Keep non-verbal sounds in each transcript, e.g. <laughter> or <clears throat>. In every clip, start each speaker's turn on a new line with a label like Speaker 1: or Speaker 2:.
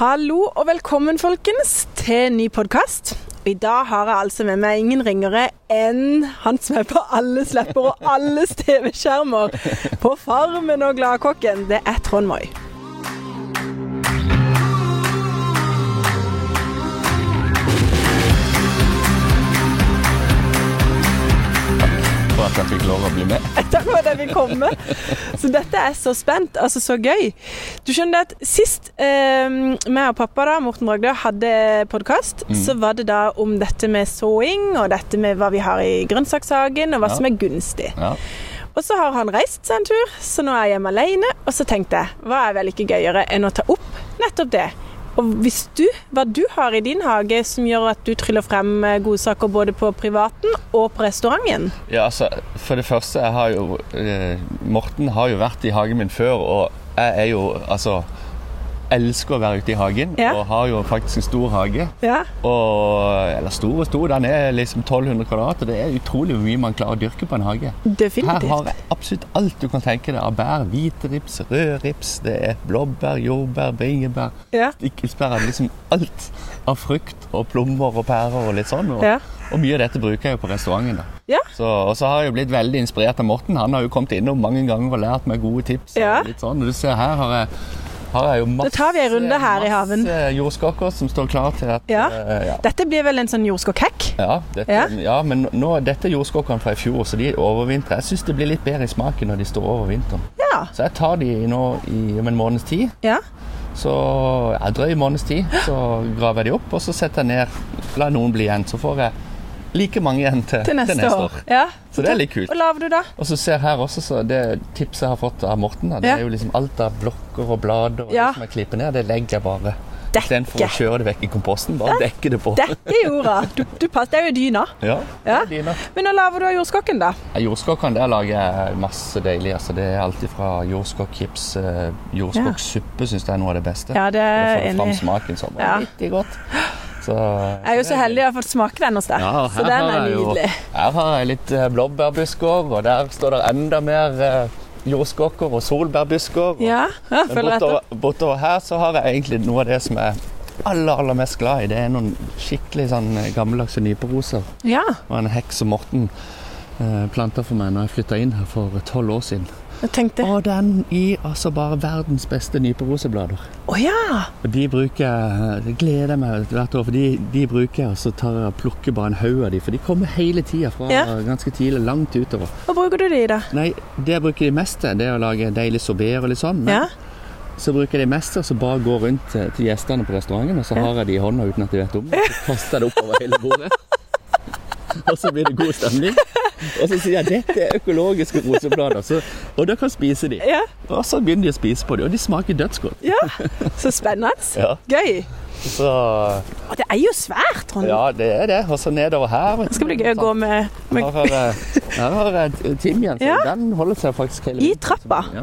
Speaker 1: Hallo og velkommen, folkens, til en ny podkast. I dag har jeg altså med meg ingen ringere enn han som er på alles lepper og alles TV-skjermer. På Farmen og Gladkokken. Det er Trond Moi. <laughs>
Speaker 2: for at jeg fikk lov å bli med.
Speaker 1: Takk for at jeg fikk komme. Så dette er så spent. Altså, så gøy. Du skjønner at sist eh, meg og pappa, da, Morten Bragdø, hadde podkast, så var det da om dette med såing, og dette med hva vi har i grønnsakshagen, og hva
Speaker 2: Ja.
Speaker 1: som er gunstig.
Speaker 2: Ja.
Speaker 1: Og så har han reist seg en tur, så nå er jeg hjemme alene. Og så tenkte jeg, hva er vel ikke gøyere enn å ta opp nettopp det? Og hvis du, hva du har i din hage som gjør at du tryller frem eh, godsaker både på privaten og på restauranten.
Speaker 2: ja, altså, for det første, jeg har jo eh, Morten har jo vært i hagen min før, og jeg er jo altså Elsker å være ute i hagen,
Speaker 1: Ja.
Speaker 2: og har jo faktisk en stor hage.
Speaker 1: Ja,
Speaker 2: Og, eller stor og stor, den er liksom 1200 kvadrat, og det er utrolig hvor mye man klarer å dyrke på en hage. Her har
Speaker 1: definitivt.
Speaker 2: jeg absolutt alt du kan tenke deg av bær. Hvite rips, røde rips, det er blåbær, jordbær, bringebær,
Speaker 1: Ja.
Speaker 2: stikkelsbær. Liksom alt av frukt og plommer og pærer og litt sånn. Og,
Speaker 1: Ja.
Speaker 2: og mye av dette bruker jeg jo på restauranten. da.
Speaker 1: Ja.
Speaker 2: Så, og så har jeg jo blitt veldig inspirert av Morten. Han har jo kommet innom mange ganger og lært meg gode tips.
Speaker 1: Ja.
Speaker 2: Og litt sånn. Og du ser her har jeg, har jeg jo masse,
Speaker 1: tar vi en runde her i haven.
Speaker 2: masse jordskokker som står klar til at
Speaker 1: Ja.
Speaker 2: eh, ja.
Speaker 1: Dette blir vel en sånn jordskokkhekk?
Speaker 2: Ja, dette,
Speaker 1: Ja.
Speaker 2: ja. men nå, dette er jordskokkene fra i fjor, så de overvintrer. Jeg syns det blir litt bedre i smaken når de står over vinteren.
Speaker 1: Ja.
Speaker 2: Så jeg tar de nå i, om en måneds tid.
Speaker 1: ja.
Speaker 2: Så ja, drøy måneds tid. Så graver jeg de opp, og så setter jeg ned. La noen bli igjen, så får jeg like mange igjen til,
Speaker 1: Til neste år. Ja.
Speaker 2: Så det er litt kult.
Speaker 1: Hva lager du da?
Speaker 2: Og så ser jeg her også, så det tipset jeg har fått av Morten, da, det
Speaker 1: Ja.
Speaker 2: er jo liksom alt av blokker og blader og
Speaker 1: Ja.
Speaker 2: det som jeg klipper ned, det legger jeg bare. Istedenfor å
Speaker 1: Dekke.
Speaker 2: kjøre det vekk i komposten, bare dekke det på.
Speaker 1: Dekke jorda. Du, du passer, det er jo dyna.
Speaker 2: Ja, det
Speaker 1: Ja.
Speaker 2: er dine.
Speaker 1: Men hva lager du av jordskokken, da?
Speaker 2: Ja, Jordskokkene der lager jeg masse deilig. Altså, det er alt fra jordskokkips eh, Jordskokksuppe syns jeg er noe av det beste.
Speaker 1: Ja, det
Speaker 2: Da
Speaker 1: er jeg
Speaker 2: får du fram
Speaker 1: enig. i.
Speaker 2: smaken som
Speaker 1: Ja.
Speaker 2: vanvittig godt. Så,
Speaker 1: Jeg er jo så heldig å ha fått smake den hos deg,
Speaker 2: Ja, og
Speaker 1: så
Speaker 2: her
Speaker 1: den
Speaker 2: har
Speaker 1: er
Speaker 2: jeg jo-
Speaker 1: nydelig.
Speaker 2: Her har jeg litt eh, blåbærbusker, og der står det enda mer eh, jordskokker og solbærbusker. Og,
Speaker 1: Ja, ja
Speaker 2: Men
Speaker 1: følger etter.
Speaker 2: bortover, bortover her så har jeg egentlig noe av det som jeg er aller, aller mest glad i. Det er noen skikkelig sånn eh, gammeldagse nyperoser.
Speaker 1: Ja,
Speaker 2: Og en heks som Morten eh, planta for meg når jeg flytta inn her for tolv år siden.
Speaker 1: jeg tenkte Å
Speaker 2: Og den gir altså bare verdens beste nyperoseblader.
Speaker 1: ja!
Speaker 2: Og de bruker jeg Det gleder jeg meg til hvert år, for de, de bruker jeg, og så tar jeg og plukker bare en haug av de. For de kommer hele tida fra
Speaker 1: Ja.
Speaker 2: ganske tidlig, langt utover.
Speaker 1: Hva bruker du de i, da?
Speaker 2: Nei, det jeg bruker de mest til, det er å lage deilig sorbet og litt sånn. Men
Speaker 1: Ja,
Speaker 2: så bruker jeg de mest til å så bare gå rundt til, til gjestene på restauranten, og så har jeg de i hånda uten at de vet om det. Så kaster jeg det oppover hele
Speaker 1: <laughs>
Speaker 2: bordet. Og så blir det god stemning. Og så sier jeg dette er økologiske roseblader, så, og da kan jeg spise de.
Speaker 1: ja,
Speaker 2: Og så begynner de å spise på dem, og de smaker dødsgodt. <laughs>
Speaker 1: ja. Så spennende.
Speaker 2: Ja.
Speaker 1: Gøy.
Speaker 2: Så
Speaker 1: Og det er jo svært, Trond.
Speaker 2: Ja, det er det. Og så nedover her. vet du.
Speaker 1: Det skal bli gøy å gå med,
Speaker 2: Her
Speaker 1: med
Speaker 2: har jeg- her har jeg timian. så
Speaker 1: Ja.
Speaker 2: Den holder seg faktisk hele
Speaker 1: I
Speaker 2: vinteren.
Speaker 1: trappa?
Speaker 2: Ja.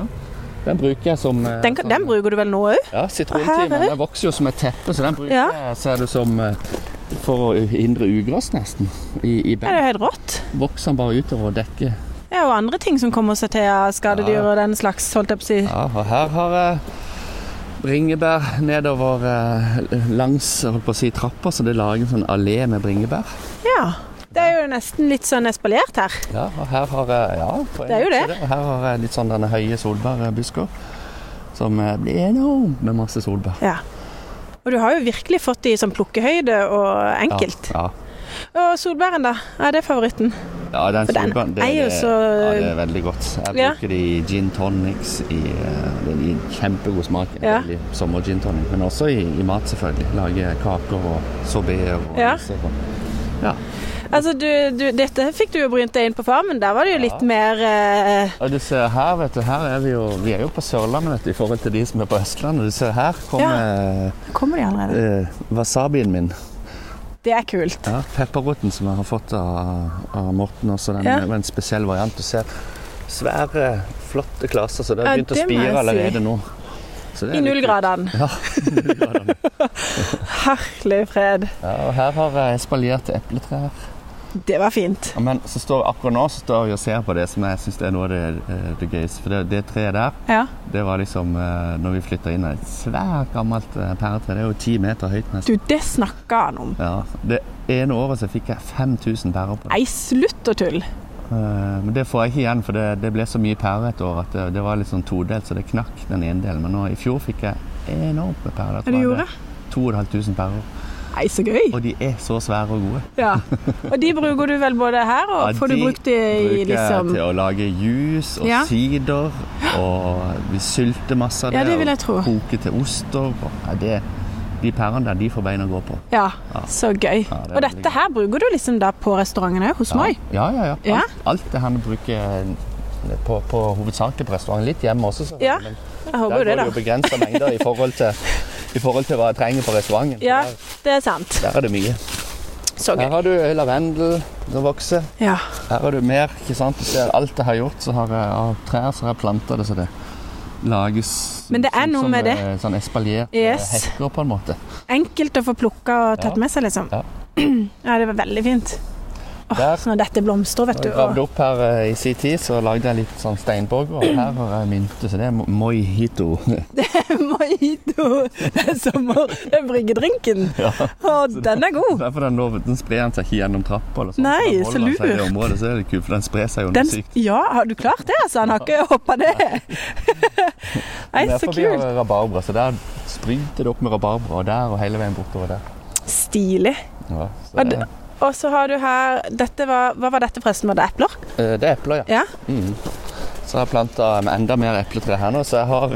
Speaker 2: Den bruker jeg som eh,
Speaker 1: den, kan- den
Speaker 2: sånn-
Speaker 1: bruker du vel nå òg?
Speaker 2: Ja,
Speaker 1: Her er
Speaker 2: sitrontimen.
Speaker 1: det.
Speaker 2: Den vokser jo som et teppe, så den bruker
Speaker 1: Ja.
Speaker 2: jeg ser du som eh, for å hindre ugress, nesten. I, i
Speaker 1: Det er jo helt
Speaker 2: bed.
Speaker 1: rått.
Speaker 2: Vokser den bare utover og dekker.
Speaker 1: Det er jo andre ting som kommer seg til av skadedyr og den slags, holdt jeg på å si.
Speaker 2: Ja, og her har jeg bringebær nedover eh, langs jeg holdt på å si, trappa, så det lager en sånn allé med bringebær.
Speaker 1: Ja. Det er jo nesten litt sånn espaljert her.
Speaker 2: Ja, og her har jeg ja, på en
Speaker 1: Det er jo
Speaker 2: måte
Speaker 1: det.
Speaker 2: Og Her har jeg litt sånn denne høye solbærbusker. Som eh, blir enormt med masse solbær.
Speaker 1: Ja. Og du har jo virkelig fått det i sånn plukkehøyde og enkelt.
Speaker 2: Ja,
Speaker 1: Og solbæren, da? Er det favoritten?
Speaker 2: ja. ja den
Speaker 1: For den
Speaker 2: solbæren, det,
Speaker 1: er jo
Speaker 2: det-
Speaker 1: så-
Speaker 2: ja, det er veldig godt. Jeg
Speaker 1: Ja.
Speaker 2: bruker det i gin tonics. I, eh, det gir kjempegod smak.
Speaker 1: Ja.
Speaker 2: Ja. Sommer-gin tonic. Men også i, i mat, selvfølgelig. Lage kaker og sorbeer og
Speaker 1: Ja.
Speaker 2: iser og- Ja.
Speaker 1: Altså, du, du, dette fikk du jo brynt deg inn på farmen. Der var det jo litt mer eh,
Speaker 2: Og du ser her, vet du, her er vi jo Vi er jo på Sørlandet, vet du, i forhold til de som er på Østlandet. Du ser her kommer
Speaker 1: Kommer de allerede?
Speaker 2: eh, wasabien min.
Speaker 1: Det er kult.
Speaker 2: Ja, pepperroten som jeg har fått av, av Morten også, den
Speaker 1: Ja.
Speaker 2: er jo en spesiell variant. Du ser svære, flotte klasser, så det har
Speaker 1: Ja,
Speaker 2: begynt å
Speaker 1: det må jeg
Speaker 2: spire
Speaker 1: si.
Speaker 2: allerede nå. Så det er
Speaker 1: I
Speaker 2: litt kult.
Speaker 1: nullgradene.
Speaker 2: Ja, i nullgradene.
Speaker 1: <laughs> Herlig fred.
Speaker 2: Ja, og her har jeg spaljerte epletrær.
Speaker 1: Det var fint.
Speaker 2: Men så står, akkurat nå så står jeg og ser på det som jeg syns er noe av det, eh, det gøyeste. For det, det treet der,
Speaker 1: Ja.
Speaker 2: det var liksom eh, når vi flytta inn, et svært gammelt eh, pæretre. Det er jo ti meter høyt nesten.
Speaker 1: Du, det snakka han om.
Speaker 2: Ja, det ene året så fikk jeg 5000 pærer på det.
Speaker 1: Nei, slutt å tulle.
Speaker 2: Eh, Men det får jeg ikke igjen, for det, det ble så mye pærer et år at det, det var litt sånn todelt, så det knakk den ene delen. Men nå, i fjor fikk jeg enormt med pærer.
Speaker 1: Er du
Speaker 2: Jeg tror jeg
Speaker 1: gjorde?
Speaker 2: hadde 2500 pærer.
Speaker 1: Nei, så gøy.
Speaker 2: Og de er så svære og gode.
Speaker 1: Ja. Og de bruker du vel både her, og
Speaker 2: Ja,
Speaker 1: får du
Speaker 2: de
Speaker 1: brukt de i
Speaker 2: bruker
Speaker 1: liksom
Speaker 2: jeg til å lage jus og
Speaker 1: Ja.
Speaker 2: sider, og vi sylter masse av det.
Speaker 1: Ja, det vil jeg
Speaker 2: og
Speaker 1: tro.
Speaker 2: koker til oster. Og, ja, det, de pærene der, de får bein å gå på.
Speaker 1: Ja, så gøy.
Speaker 2: Ja, det er
Speaker 1: Og dette
Speaker 2: veldig
Speaker 1: her bruker du liksom da på restauranten òg, hos
Speaker 2: Ja,
Speaker 1: meg?
Speaker 2: ja, ja. ja.
Speaker 1: Ja.
Speaker 2: Alt, alt det her vi bruker på, på hovedsakelig på restaurant. Litt hjemme også, så
Speaker 1: Ja,
Speaker 2: men
Speaker 1: Jeg håper jo
Speaker 2: der
Speaker 1: det,
Speaker 2: går det jo
Speaker 1: da.
Speaker 2: begrensa mengder i forhold, til, i forhold til hva jeg trenger på restauranten. så
Speaker 1: Ja,
Speaker 2: Der,
Speaker 1: det er sant.
Speaker 2: der er det mye.
Speaker 1: Så gøy.
Speaker 2: Her har du lavendel som vokser.
Speaker 1: Ja.
Speaker 2: Her er det mer, ikke sant? Du ser alt jeg har gjort, så har jeg av trær så har jeg planta det så det lages
Speaker 1: Men det er
Speaker 2: sånn
Speaker 1: noe
Speaker 2: som,
Speaker 1: med det.
Speaker 2: eh, Sånn espalierte
Speaker 1: Yes.
Speaker 2: hekker, på en måte.
Speaker 1: Enkelt å få plukka og tatt
Speaker 2: Ja.
Speaker 1: med seg, liksom.
Speaker 2: Ja.
Speaker 1: <clears throat> Ja, det var veldig fint. Åh,
Speaker 2: Der.
Speaker 1: så når dette blomstrer, vet
Speaker 2: Når
Speaker 1: du
Speaker 2: jeg
Speaker 1: og-
Speaker 2: gravde opp her eh, i sin tid, så lagde jeg litt sånn steinborger, og her har jeg mynte, så det er mo- mojito. <laughs>
Speaker 1: <laughs> Mojito! Det er sommer. Det er bryggedrinken.
Speaker 2: Ja.
Speaker 1: Og den er god.
Speaker 2: Derfor den, lå- den sprer den seg ikke gjennom trappa. Eller sånn.
Speaker 1: Nei,
Speaker 2: den
Speaker 1: så
Speaker 2: holder den seg i det
Speaker 1: lurt.
Speaker 2: området, så er det kult, for den sprer seg jo
Speaker 1: Den,
Speaker 2: noe sykt.
Speaker 1: ja, har du klart det? Altså, han har ikke hoppa ned. Nei, så
Speaker 2: Derfor vi har
Speaker 1: kult.
Speaker 2: rabarbra, så der sprynte det opp med rabarbra, og der og hele veien bortover der.
Speaker 1: Stilig.
Speaker 2: Ja, så
Speaker 1: Og
Speaker 2: det,
Speaker 1: d- Og så har du her dette var, Hva var dette forresten? Var det epler?
Speaker 2: eh, det er epler, ja.
Speaker 1: Ja. <laughs>
Speaker 2: Mm. Så jeg har planta enda mer epletre her nå, så jeg har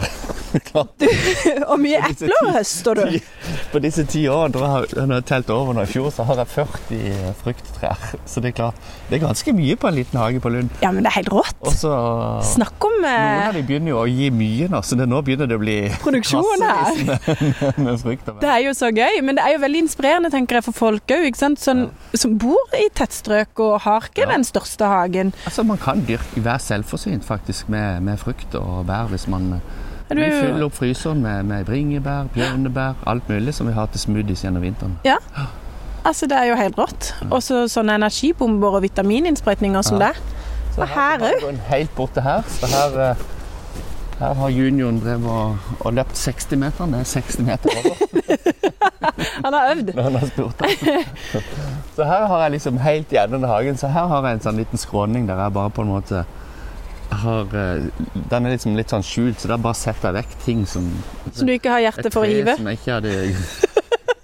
Speaker 2: <laughs> klart
Speaker 1: Og mye epler høster du.
Speaker 2: På disse ti årene da har- når jeg har telt over nå i fjor, så har jeg 40 frukttrær. Så det er klart, det er ganske mye på en liten hage på Lund.
Speaker 1: Ja, men det er helt
Speaker 2: Og
Speaker 1: rått.
Speaker 2: så
Speaker 1: Snakk om
Speaker 2: Noen av
Speaker 1: eh,
Speaker 2: de begynner jo å gi mye nå, så det, nå begynner det å bli
Speaker 1: produksjon her.
Speaker 2: kassevis med, med frukt. og bær.
Speaker 1: Det er jo så gøy, men det er jo veldig inspirerende tenker jeg, for folk òg. Sånn, Som bor i tettstrøk og har ikke
Speaker 2: Ja.
Speaker 1: den største hagen.
Speaker 2: Altså, man kan dyrke, være selvforsynt faktisk med, med frukt og bær hvis man
Speaker 1: Er du-
Speaker 2: Vi fyller opp fryseren med, med bringebær, bjørnebær, alt mulig som vi har til smoothies gjennom vinteren.
Speaker 1: Altså, Det er jo helt rått. Og så sånne energibomber og vitamininnsprøytninger som
Speaker 2: Ja.
Speaker 1: det.
Speaker 2: Så
Speaker 1: Og her
Speaker 2: kan man gå inn Helt borte her. Så her, eh, her har junioren drevet og, og løpt 60 meter. Det er 60 meter over <laughs>
Speaker 1: Han har øvd.
Speaker 2: når han har spurt.
Speaker 1: <laughs>
Speaker 2: Så her har jeg liksom helt i enden av hagen. Så her har jeg en sånn liten skråning der jeg bare på en måte har eh, Den er liksom litt sånn skjult, så da bare setter jeg vekk ting som
Speaker 1: Som du ikke har hjerte for å hive.
Speaker 2: som jeg ikke hadde
Speaker 1: <laughs>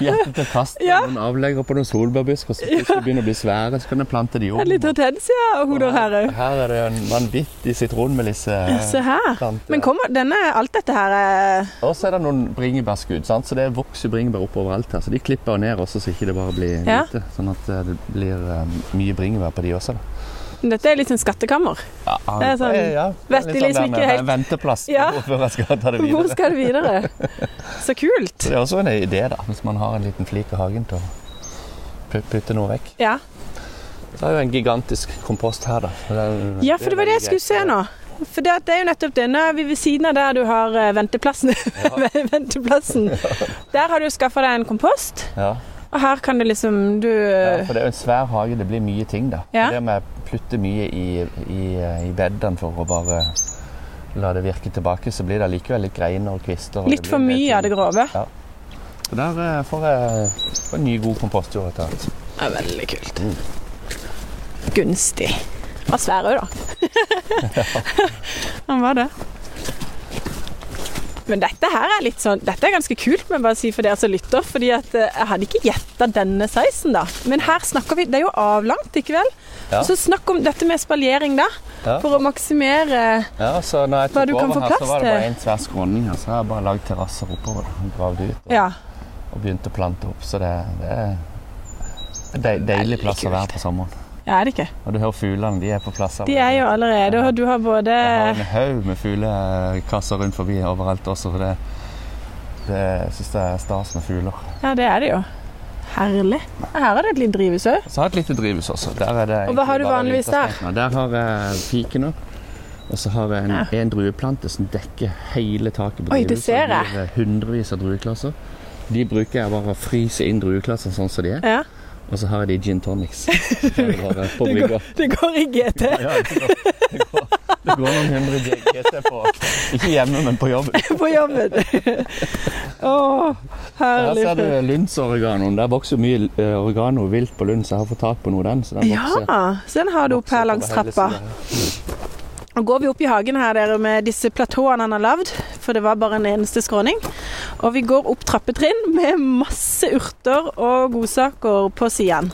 Speaker 2: hjerte til å kaste.
Speaker 1: Ja.
Speaker 2: Noen avlegger på noen solbærbusker som plutselig begynner å bli svære, så kan jeg plante de om.
Speaker 1: En litt hortensia og hoder her òg.
Speaker 2: Her er det en vanvittig sitronmelisse.
Speaker 1: Se her.
Speaker 2: plante.
Speaker 1: Men kommer denne Alt dette her eh, er
Speaker 2: Og så er det noen bringebærskudd, sant? så det vokser bringebær opp overalt her. Så de klipper jo ned også, så ikke det bare blir
Speaker 1: Ja.
Speaker 2: lite. Sånn at eh, det blir eh, mye bringebær på de også. Da.
Speaker 1: Dette er litt sånn skattekammer.
Speaker 2: Ja,
Speaker 1: Det er sånn- vet
Speaker 2: Det er
Speaker 1: de
Speaker 2: litt
Speaker 1: liksom
Speaker 2: den,
Speaker 1: ikke
Speaker 2: eh,
Speaker 1: helt-
Speaker 2: Venteplass
Speaker 1: Ja.
Speaker 2: før jeg skal ta det
Speaker 1: Hvor
Speaker 2: videre.
Speaker 1: skal det
Speaker 2: <laughs>
Speaker 1: videre? Så kult.
Speaker 2: Så det er også en idé, da, hvis man har en liten flik av hagen til å pu- putte noe vekk.
Speaker 1: Ja.
Speaker 2: Så er det jo en gigantisk kompost her, da. Det er-
Speaker 1: ja, for det var det jeg skulle se nå. For det, at det er jo nettopp det. Nå er vi ved siden av der du har eh, venteplassen. <laughs> venteplassen. Der har du skaffa deg en kompost,
Speaker 2: Ja.
Speaker 1: og her kan du liksom Du
Speaker 2: ja, for det er jo en svær hage, det blir mye ting, da.
Speaker 1: Ja.
Speaker 2: Det med å plutte mye i, i, i beddene for å bare la det virke tilbake, så blir det likevel litt greiner og kvister. og
Speaker 1: Litt
Speaker 2: blir
Speaker 1: for
Speaker 2: en del
Speaker 1: mye av det
Speaker 2: ting.
Speaker 1: grove.
Speaker 2: Så der eh, får jeg får en ny, god kompostjord etter hvert.
Speaker 1: Det er veldig kult. Gunstig. Og svær <laughs> òg, da. Han var det. Men dette her er litt sånn Dette er ganske kult, må jeg bare si for dere som lytter. fordi at eh, jeg hadde ikke gjetta denne sizen, da. Men her snakker vi Det er jo avlangt, ikke vel?
Speaker 2: Ja.
Speaker 1: Så snakk om dette med spaljering, da.
Speaker 2: Ja.
Speaker 1: For å maksimere
Speaker 2: Ja, så når jeg
Speaker 1: Hva du
Speaker 2: tok
Speaker 1: kan få
Speaker 2: over her, så
Speaker 1: plass
Speaker 2: var det
Speaker 1: til.
Speaker 2: bare en svær skråning her, så jeg har bare lagd terrasser oppover. da, og Gravd ut og,
Speaker 1: Ja.
Speaker 2: og begynte å plante opp, så det, det er en de, deilig plass å være på sommeren.
Speaker 1: ja, er det ikke?
Speaker 2: Og du hører fuglene, de er på plass.
Speaker 1: De er jo eh, allerede Og du har både
Speaker 2: Jeg har en haug med fuglekasser rundt forbi overalt også, for det, det syns jeg er stas med fugler.
Speaker 1: Ja, det er det jo. Herlig. Her er det et lite drivhus òg.
Speaker 2: Så har jeg et lite drivhus også. Der er det
Speaker 1: Og hva har du
Speaker 2: egentlig bare
Speaker 1: vanligvis der?
Speaker 2: vinterstengene. Der har jeg pikene. Og så har jeg en, en drueplante som dekker hele taket på
Speaker 1: Oi, det
Speaker 2: drivhuset.
Speaker 1: ser jeg.
Speaker 2: eh, Det blir hundrevis av drueklasser. De bruker jeg bare å fryse inn drueklassene sånn som de er.
Speaker 1: Ja.
Speaker 2: Og så har jeg de gin
Speaker 1: <laughs>
Speaker 2: tonics. Det er bare på
Speaker 1: Det går,
Speaker 2: brygga.
Speaker 1: det går i GT.
Speaker 2: Ja, det går- det går det går noen hundre GT på Ikke hjemme, men på jobb.
Speaker 1: <laughs> på
Speaker 2: <laughs>
Speaker 1: jobben. Å,
Speaker 2: Her
Speaker 1: herlig.
Speaker 2: ser du Lundsorganoen. Der vokser mye eh, oregano vilt på Lund, så jeg har fått tak på noe av den. Så den vokser,
Speaker 1: Ja, så den har du opp
Speaker 2: vokser
Speaker 1: her
Speaker 2: på
Speaker 1: langs
Speaker 2: hele
Speaker 1: trappa.
Speaker 2: siden.
Speaker 1: Og går vi opp i hagen her dere, med disse platåene han har lagd, for det var bare en eneste skråning. Og vi går opp trappetrinn med masse urter og godsaker på sidene.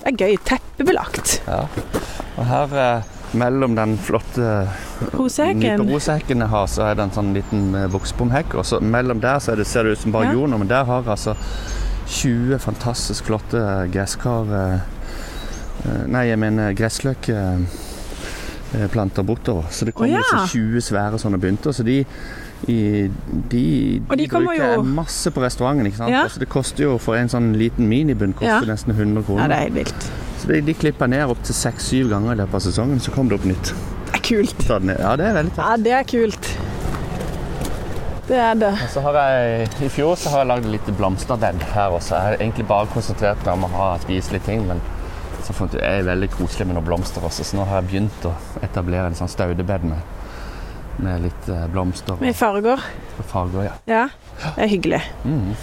Speaker 1: Det er gøy. Teppebelagt.
Speaker 2: Ja. Og her eh, mellom den flotte
Speaker 1: Rosehekken.
Speaker 2: Nyperosekken jeg har, så er det en sånn liten eh, voksbomhekk. Og så mellom der så er det, ser det ut som bare
Speaker 1: Ja.
Speaker 2: jord nå, men der har jeg altså 20 fantastisk flotte eh, gresskar eh, eh, Nei, jeg mener gressløkplanter bortover. Så det
Speaker 1: Å,
Speaker 2: kommer
Speaker 1: ja.
Speaker 2: disse 20 svære sånne bunter. Så de i, de,
Speaker 1: Og de kommer
Speaker 2: bruker
Speaker 1: jo-
Speaker 2: jeg masse på restauranten. ikke sant?
Speaker 1: Ja.
Speaker 2: Altså, det koster jo for en sånn liten minibunt
Speaker 1: Ja.
Speaker 2: koster nesten 100
Speaker 1: Ja,
Speaker 2: kroner.
Speaker 1: det er helt vilt.
Speaker 2: så de, de klipper ned opptil seks-syv ganger i løpet av sesongen, så kommer det opp nytt.
Speaker 1: Det er kult.
Speaker 2: Ta den ned. Ja, det er veldig tøft.
Speaker 1: Ja, det er kult. Det er det.
Speaker 2: Og så har jeg, I fjor så har jeg lagd litt blomsterbed her også. Jeg har egentlig bare konsentrert meg om å ha spiselige ting, men så fant jeg jeg er veldig koselig med noen blomster også, så nå har jeg begynt å etablere en sånn staudebed med, med litt eh, blomster
Speaker 1: Med farger.
Speaker 2: og farger. Ja.
Speaker 1: Ja, det er hyggelig.
Speaker 2: Mm.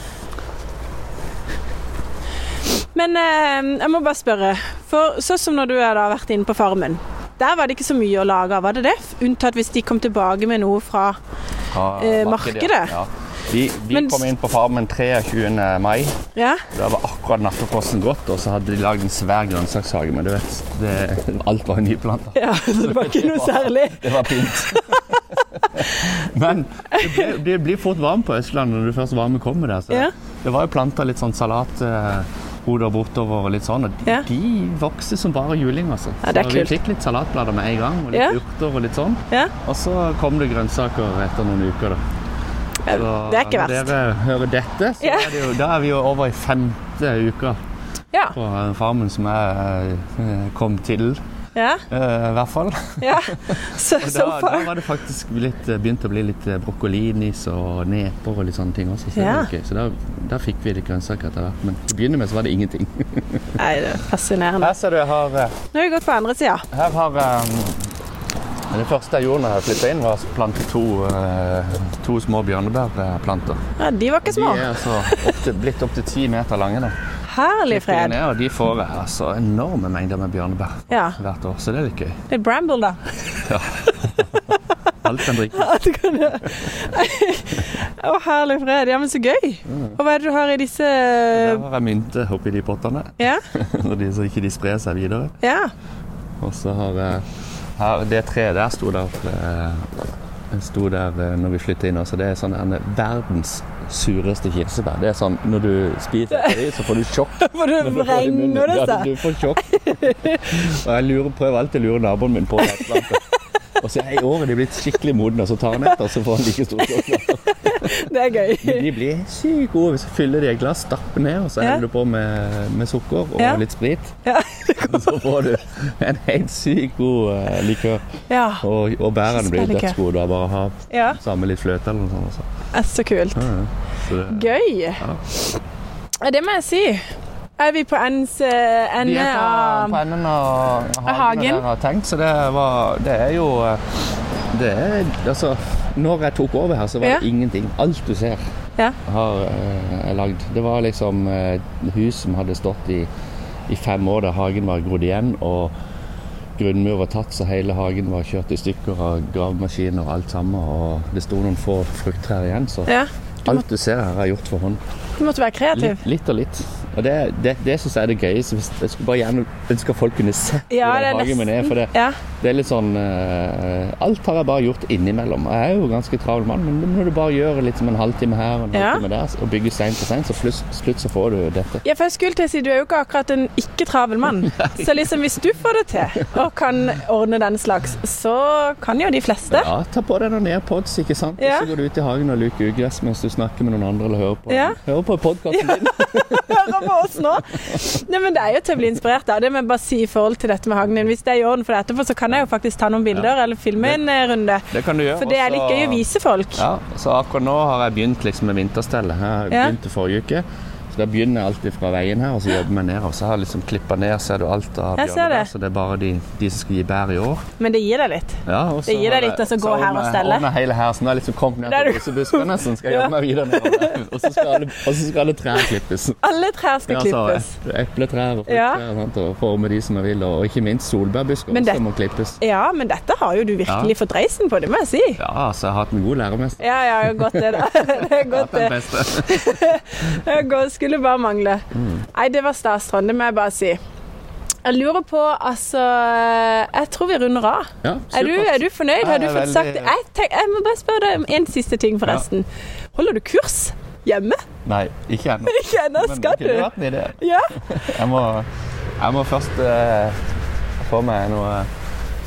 Speaker 1: Men eh, jeg må bare spørre. For sånn som når du har da vært inne på farmen. Der var det ikke så mye å lage av, var det det? Unntatt hvis de kom tilbake med noe fra
Speaker 2: Fra
Speaker 1: Eh, markedet?
Speaker 2: Ja. Vi, vi
Speaker 1: Men-
Speaker 2: kom inn på farmen 23. mai.
Speaker 1: Ja?
Speaker 2: Da var akkurat nattefrosten gått, og så hadde de lagd en svær grønnsakshage. Men du vet, det, alt var nyplanta.
Speaker 1: <laughs> ja så det var ikke noe særlig.
Speaker 2: Det var fint. <laughs> Men det blir, det blir fort varmt på Østlandet når du først varme kommer der. Så
Speaker 1: Ja.
Speaker 2: Det var jo planta litt sånn salathoder bortover og litt sånn, og de,
Speaker 1: Ja.
Speaker 2: de vokste som bare juling, altså.
Speaker 1: Ja, det er
Speaker 2: så
Speaker 1: kult.
Speaker 2: vi fikk litt salatblader med en gang, og litt
Speaker 1: Ja.
Speaker 2: urter og litt sånn.
Speaker 1: Ja,
Speaker 2: Og så kom det grønnsaker etter noen uker, da. Så
Speaker 1: det er ikke
Speaker 2: når
Speaker 1: verst.
Speaker 2: dere hører dette, så
Speaker 1: Ja.
Speaker 2: er det jo, da er vi jo over i femte uka
Speaker 1: Ja.
Speaker 2: på eh, farmen som jeg eh, kom til,
Speaker 1: ja,
Speaker 2: eh, i hvert fall.
Speaker 1: ja. <laughs> So,
Speaker 2: Og
Speaker 1: so
Speaker 2: Da, da
Speaker 1: far.
Speaker 2: var det faktisk litt, begynt å bli litt eh, brokkolinis og neper og litt sånne ting også. Så, det
Speaker 1: Ja.
Speaker 2: var gøy. så da, da fikk vi litt grønnsaker etter hvert. Men til å begynne med så var det ingenting.
Speaker 1: Nei, det er fascinerende.
Speaker 2: <laughs> Her ser du jeg har, eh,
Speaker 1: Nå har vi gått på andre sida.
Speaker 2: her har eh, Det første jeg gjorde når jeg flytta inn, var å plante to, eh, to små bjørnebærplanter.
Speaker 1: Ja, de var ikke
Speaker 2: De
Speaker 1: små.
Speaker 2: er altså opp til, blitt opptil ti meter lange. Da.
Speaker 1: Herlig
Speaker 2: Klipper de
Speaker 1: fred.
Speaker 2: ned, og de får jeg altså enorme mengder med bjørnebær
Speaker 1: Ja.
Speaker 2: hvert år, så det er litt gøy.
Speaker 1: Litt bramble, da. <laughs>
Speaker 2: Alt kan drikkes.
Speaker 1: At du <laughs> kan gjøre Å, herlig fred. Ja, men så gøy. Og hva er det du har i disse
Speaker 2: Der har jeg mynte oppi de pottene, <laughs>
Speaker 1: Ja?
Speaker 2: så de- så ikke de sprer seg videre.
Speaker 1: Ja. <laughs>
Speaker 2: Og så har jeg her, Det treet der sto der, eh, sto der eh, når vi flytta inn også. Det er sånn en verdens sureste kirsebær. Det er sånn når du spiser på dem, så får du sjokk.
Speaker 1: For
Speaker 2: Når
Speaker 1: du
Speaker 2: du får det i munnen.
Speaker 1: vrenger det
Speaker 2: Ja,
Speaker 1: seg.
Speaker 2: du får sjokk. Og jeg lurer, prøver alltid å lure naboen min på det. Og så er i året de blitt skikkelig modne, og så tar han etter, og så får han like stor sjokk.
Speaker 1: Det er gøy.
Speaker 2: Men de blir sykt gode hvis du fyller de i et glass, stapper ned, og så
Speaker 1: Ja.
Speaker 2: heller du på med, med sukker og
Speaker 1: Ja.
Speaker 2: litt sprit.
Speaker 1: Ja.
Speaker 2: <laughs> Så får du en helt sykt god eh, likør.
Speaker 1: Ja.
Speaker 2: Og, og bærene blir
Speaker 1: Spennende.
Speaker 2: dødsgode av bare å ha
Speaker 1: ja.
Speaker 2: samme litt fløte eller noe sånt. Også.
Speaker 1: Er så kult.
Speaker 2: Så det,
Speaker 1: Gøy. Ja, Det må jeg si. Er vi på ens eh,
Speaker 2: vi
Speaker 1: ende
Speaker 2: er på,
Speaker 1: av
Speaker 2: på enden av hagen,
Speaker 1: hagen.
Speaker 2: der jeg har tenkt, så det, var, det er jo eh, det er, altså, Når jeg tok over her, så var
Speaker 1: Ja.
Speaker 2: det ingenting. Alt du ser,
Speaker 1: Ja.
Speaker 2: har eh, jeg lagd. Det var liksom eh, hus som hadde stått i, i fem år, der hagen var grodd igjen. og Grunnmur var tatt, så hele hagen var kjørt i stykker av gravemaskiner og alt sammen. Og det sto noen få frukttrær igjen, så
Speaker 1: ja.
Speaker 2: alt du ser her, har jeg gjort for hånd.
Speaker 1: Du måtte være kreativ.
Speaker 2: Litt, litt og litt. Og det, det, det syns jeg er det gøyeste. hvis- Jeg skulle bare gjerne ønske at folk kunne se
Speaker 1: Ja, det er
Speaker 2: hvordan hagen min er. For det,
Speaker 1: Ja.
Speaker 2: det er litt sånn eh, Alt har jeg bare gjort innimellom. Jeg er jo ganske travel mann, men når du bare gjør litt som en halvtime her og en
Speaker 1: Ja.
Speaker 2: halvtime der, og bygger stein for stein, så slutt, slutt så får du dette.
Speaker 1: Ja, for jeg skulle til å si, Du er jo ikke akkurat en ikke-travel
Speaker 2: <laughs>
Speaker 1: mann. Så liksom hvis du får det til og kan ordne den slags, så kan jo de fleste.
Speaker 2: Ja, ta på deg noen AirPods, ikke sant?
Speaker 1: Ja.
Speaker 2: Og så går du ut i hagen og luker ugress mens du snakker med noen andre eller hører på,
Speaker 1: Ja.
Speaker 2: hører på podkasten din.
Speaker 1: <laughs> Hører på oss nå. Nei, men Det er jo til å bli inspirert av. Det må jeg bare si i forhold til dette med hagen din. Hvis det er i orden for deg etterpå, så kan jeg jo faktisk ta noen bilder eller filme en eh, runde.
Speaker 2: Det kan du gjøre.
Speaker 1: For det er
Speaker 2: og
Speaker 1: litt
Speaker 2: så-
Speaker 1: gøy å vise folk.
Speaker 2: Ja, så akkurat nå har jeg begynt liksom med vinterstellet. Jeg
Speaker 1: Ja.
Speaker 2: begynte forrige uke. Da begynner jeg alltid fra veien her, og så jobber jeg nedover. Så jeg har liksom klippa ned, ser du alt av
Speaker 1: Jeg ser
Speaker 2: bjørnebær,
Speaker 1: det.
Speaker 2: så det er bare de, de som skal gi bær i år.
Speaker 1: Men det gir deg litt.
Speaker 2: Ja, og så
Speaker 1: Det gir deg
Speaker 2: har jeg-
Speaker 1: litt, og så gå her og
Speaker 2: ordner-
Speaker 1: stelle.
Speaker 2: ordner hele her, så nå er jeg liksom kommet ned
Speaker 1: Der
Speaker 2: til
Speaker 1: du-
Speaker 2: rosebuskene, så
Speaker 1: <laughs>
Speaker 2: skal jeg jobbe meg videre nedover. Og så skal alle, og så skal alle trær klippes.
Speaker 1: Alle trær skal
Speaker 2: Ja,
Speaker 1: klippes.
Speaker 2: Altså, epletrær og
Speaker 1: Ja.
Speaker 2: frukttrær sant, og forme de som jeg vil, og ikke minst solbærbusker
Speaker 1: Men det-
Speaker 2: som må klippes.
Speaker 1: Ja, men dette har jo du virkelig fått reisen på, det må jeg si.
Speaker 2: Ja, altså, jeg har hatt en god læremester.
Speaker 1: Ja, ja, godt det,
Speaker 2: <laughs>
Speaker 1: da. Det er godt, det.
Speaker 2: Den beste.
Speaker 1: Det går- skulle bare mangle.
Speaker 2: Mm.
Speaker 1: Nei, det var stas, Trond. Det må jeg bare si. Jeg lurer på, altså Jeg tror vi runder av.
Speaker 2: Ja,
Speaker 1: Er du,
Speaker 2: supert.
Speaker 1: er du fornøyd? Har
Speaker 2: Jeg
Speaker 1: du
Speaker 2: er
Speaker 1: fått
Speaker 2: veldig-
Speaker 1: sagt det? Jeg, tenk, jeg må bare spørre deg om en siste ting, forresten. Holder du kurs hjemme? <laughs>
Speaker 2: Nei, ikke ennå.
Speaker 1: Ikke ennå,
Speaker 2: Men
Speaker 1: skal
Speaker 2: det kunne
Speaker 1: du?
Speaker 2: vært en idé.
Speaker 1: Ja.
Speaker 2: Jeg må, jeg må først eh, få meg noe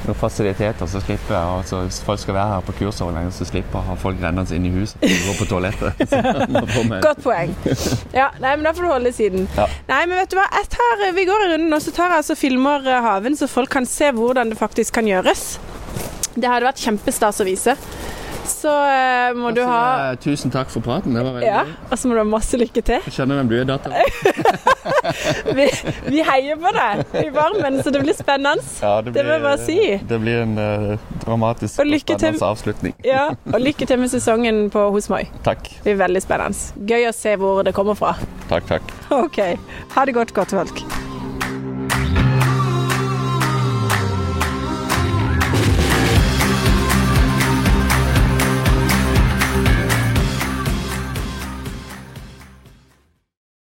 Speaker 2: noen fasiliteter, så slipper jeg og så hvis folk skal være her på kurs over lenge, så slipper jeg å ha folk rennende inn i huset for å gå på toalettet. <laughs> Så jeg må få meg-
Speaker 1: Godt poeng. Ja, nei, men Da får du holde siden.
Speaker 2: Ja.
Speaker 1: Nei, men vet du hva? Jeg tar, vi går i runden, og så tar jeg altså filmer eh, haven, så folk kan se hvordan det faktisk kan gjøres. Det hadde vært kjempestas å vise. Så eh, må du
Speaker 2: Så,
Speaker 1: ha
Speaker 2: eh, Tusen takk for praten. Det var veldig
Speaker 1: Ja, og så må du ha masse lykke til.
Speaker 2: Jeg skjønner hvem du er,
Speaker 1: <laughs>
Speaker 2: datter.
Speaker 1: Vi, vi heier på deg i varmen, så det blir spennende.
Speaker 2: Ja, det,
Speaker 1: Det må jeg bare si.
Speaker 2: Det blir en eh, dramatisk
Speaker 1: Og lykke til.
Speaker 2: spennende avslutning.
Speaker 1: Ja, og lykke til med sesongen på Hos Moi.
Speaker 2: Takk.
Speaker 1: Det blir veldig spennende. Gøy å se hvor det kommer fra. <laughs>
Speaker 2: Takk, takk.
Speaker 1: OK. Ha det godt, godt folk.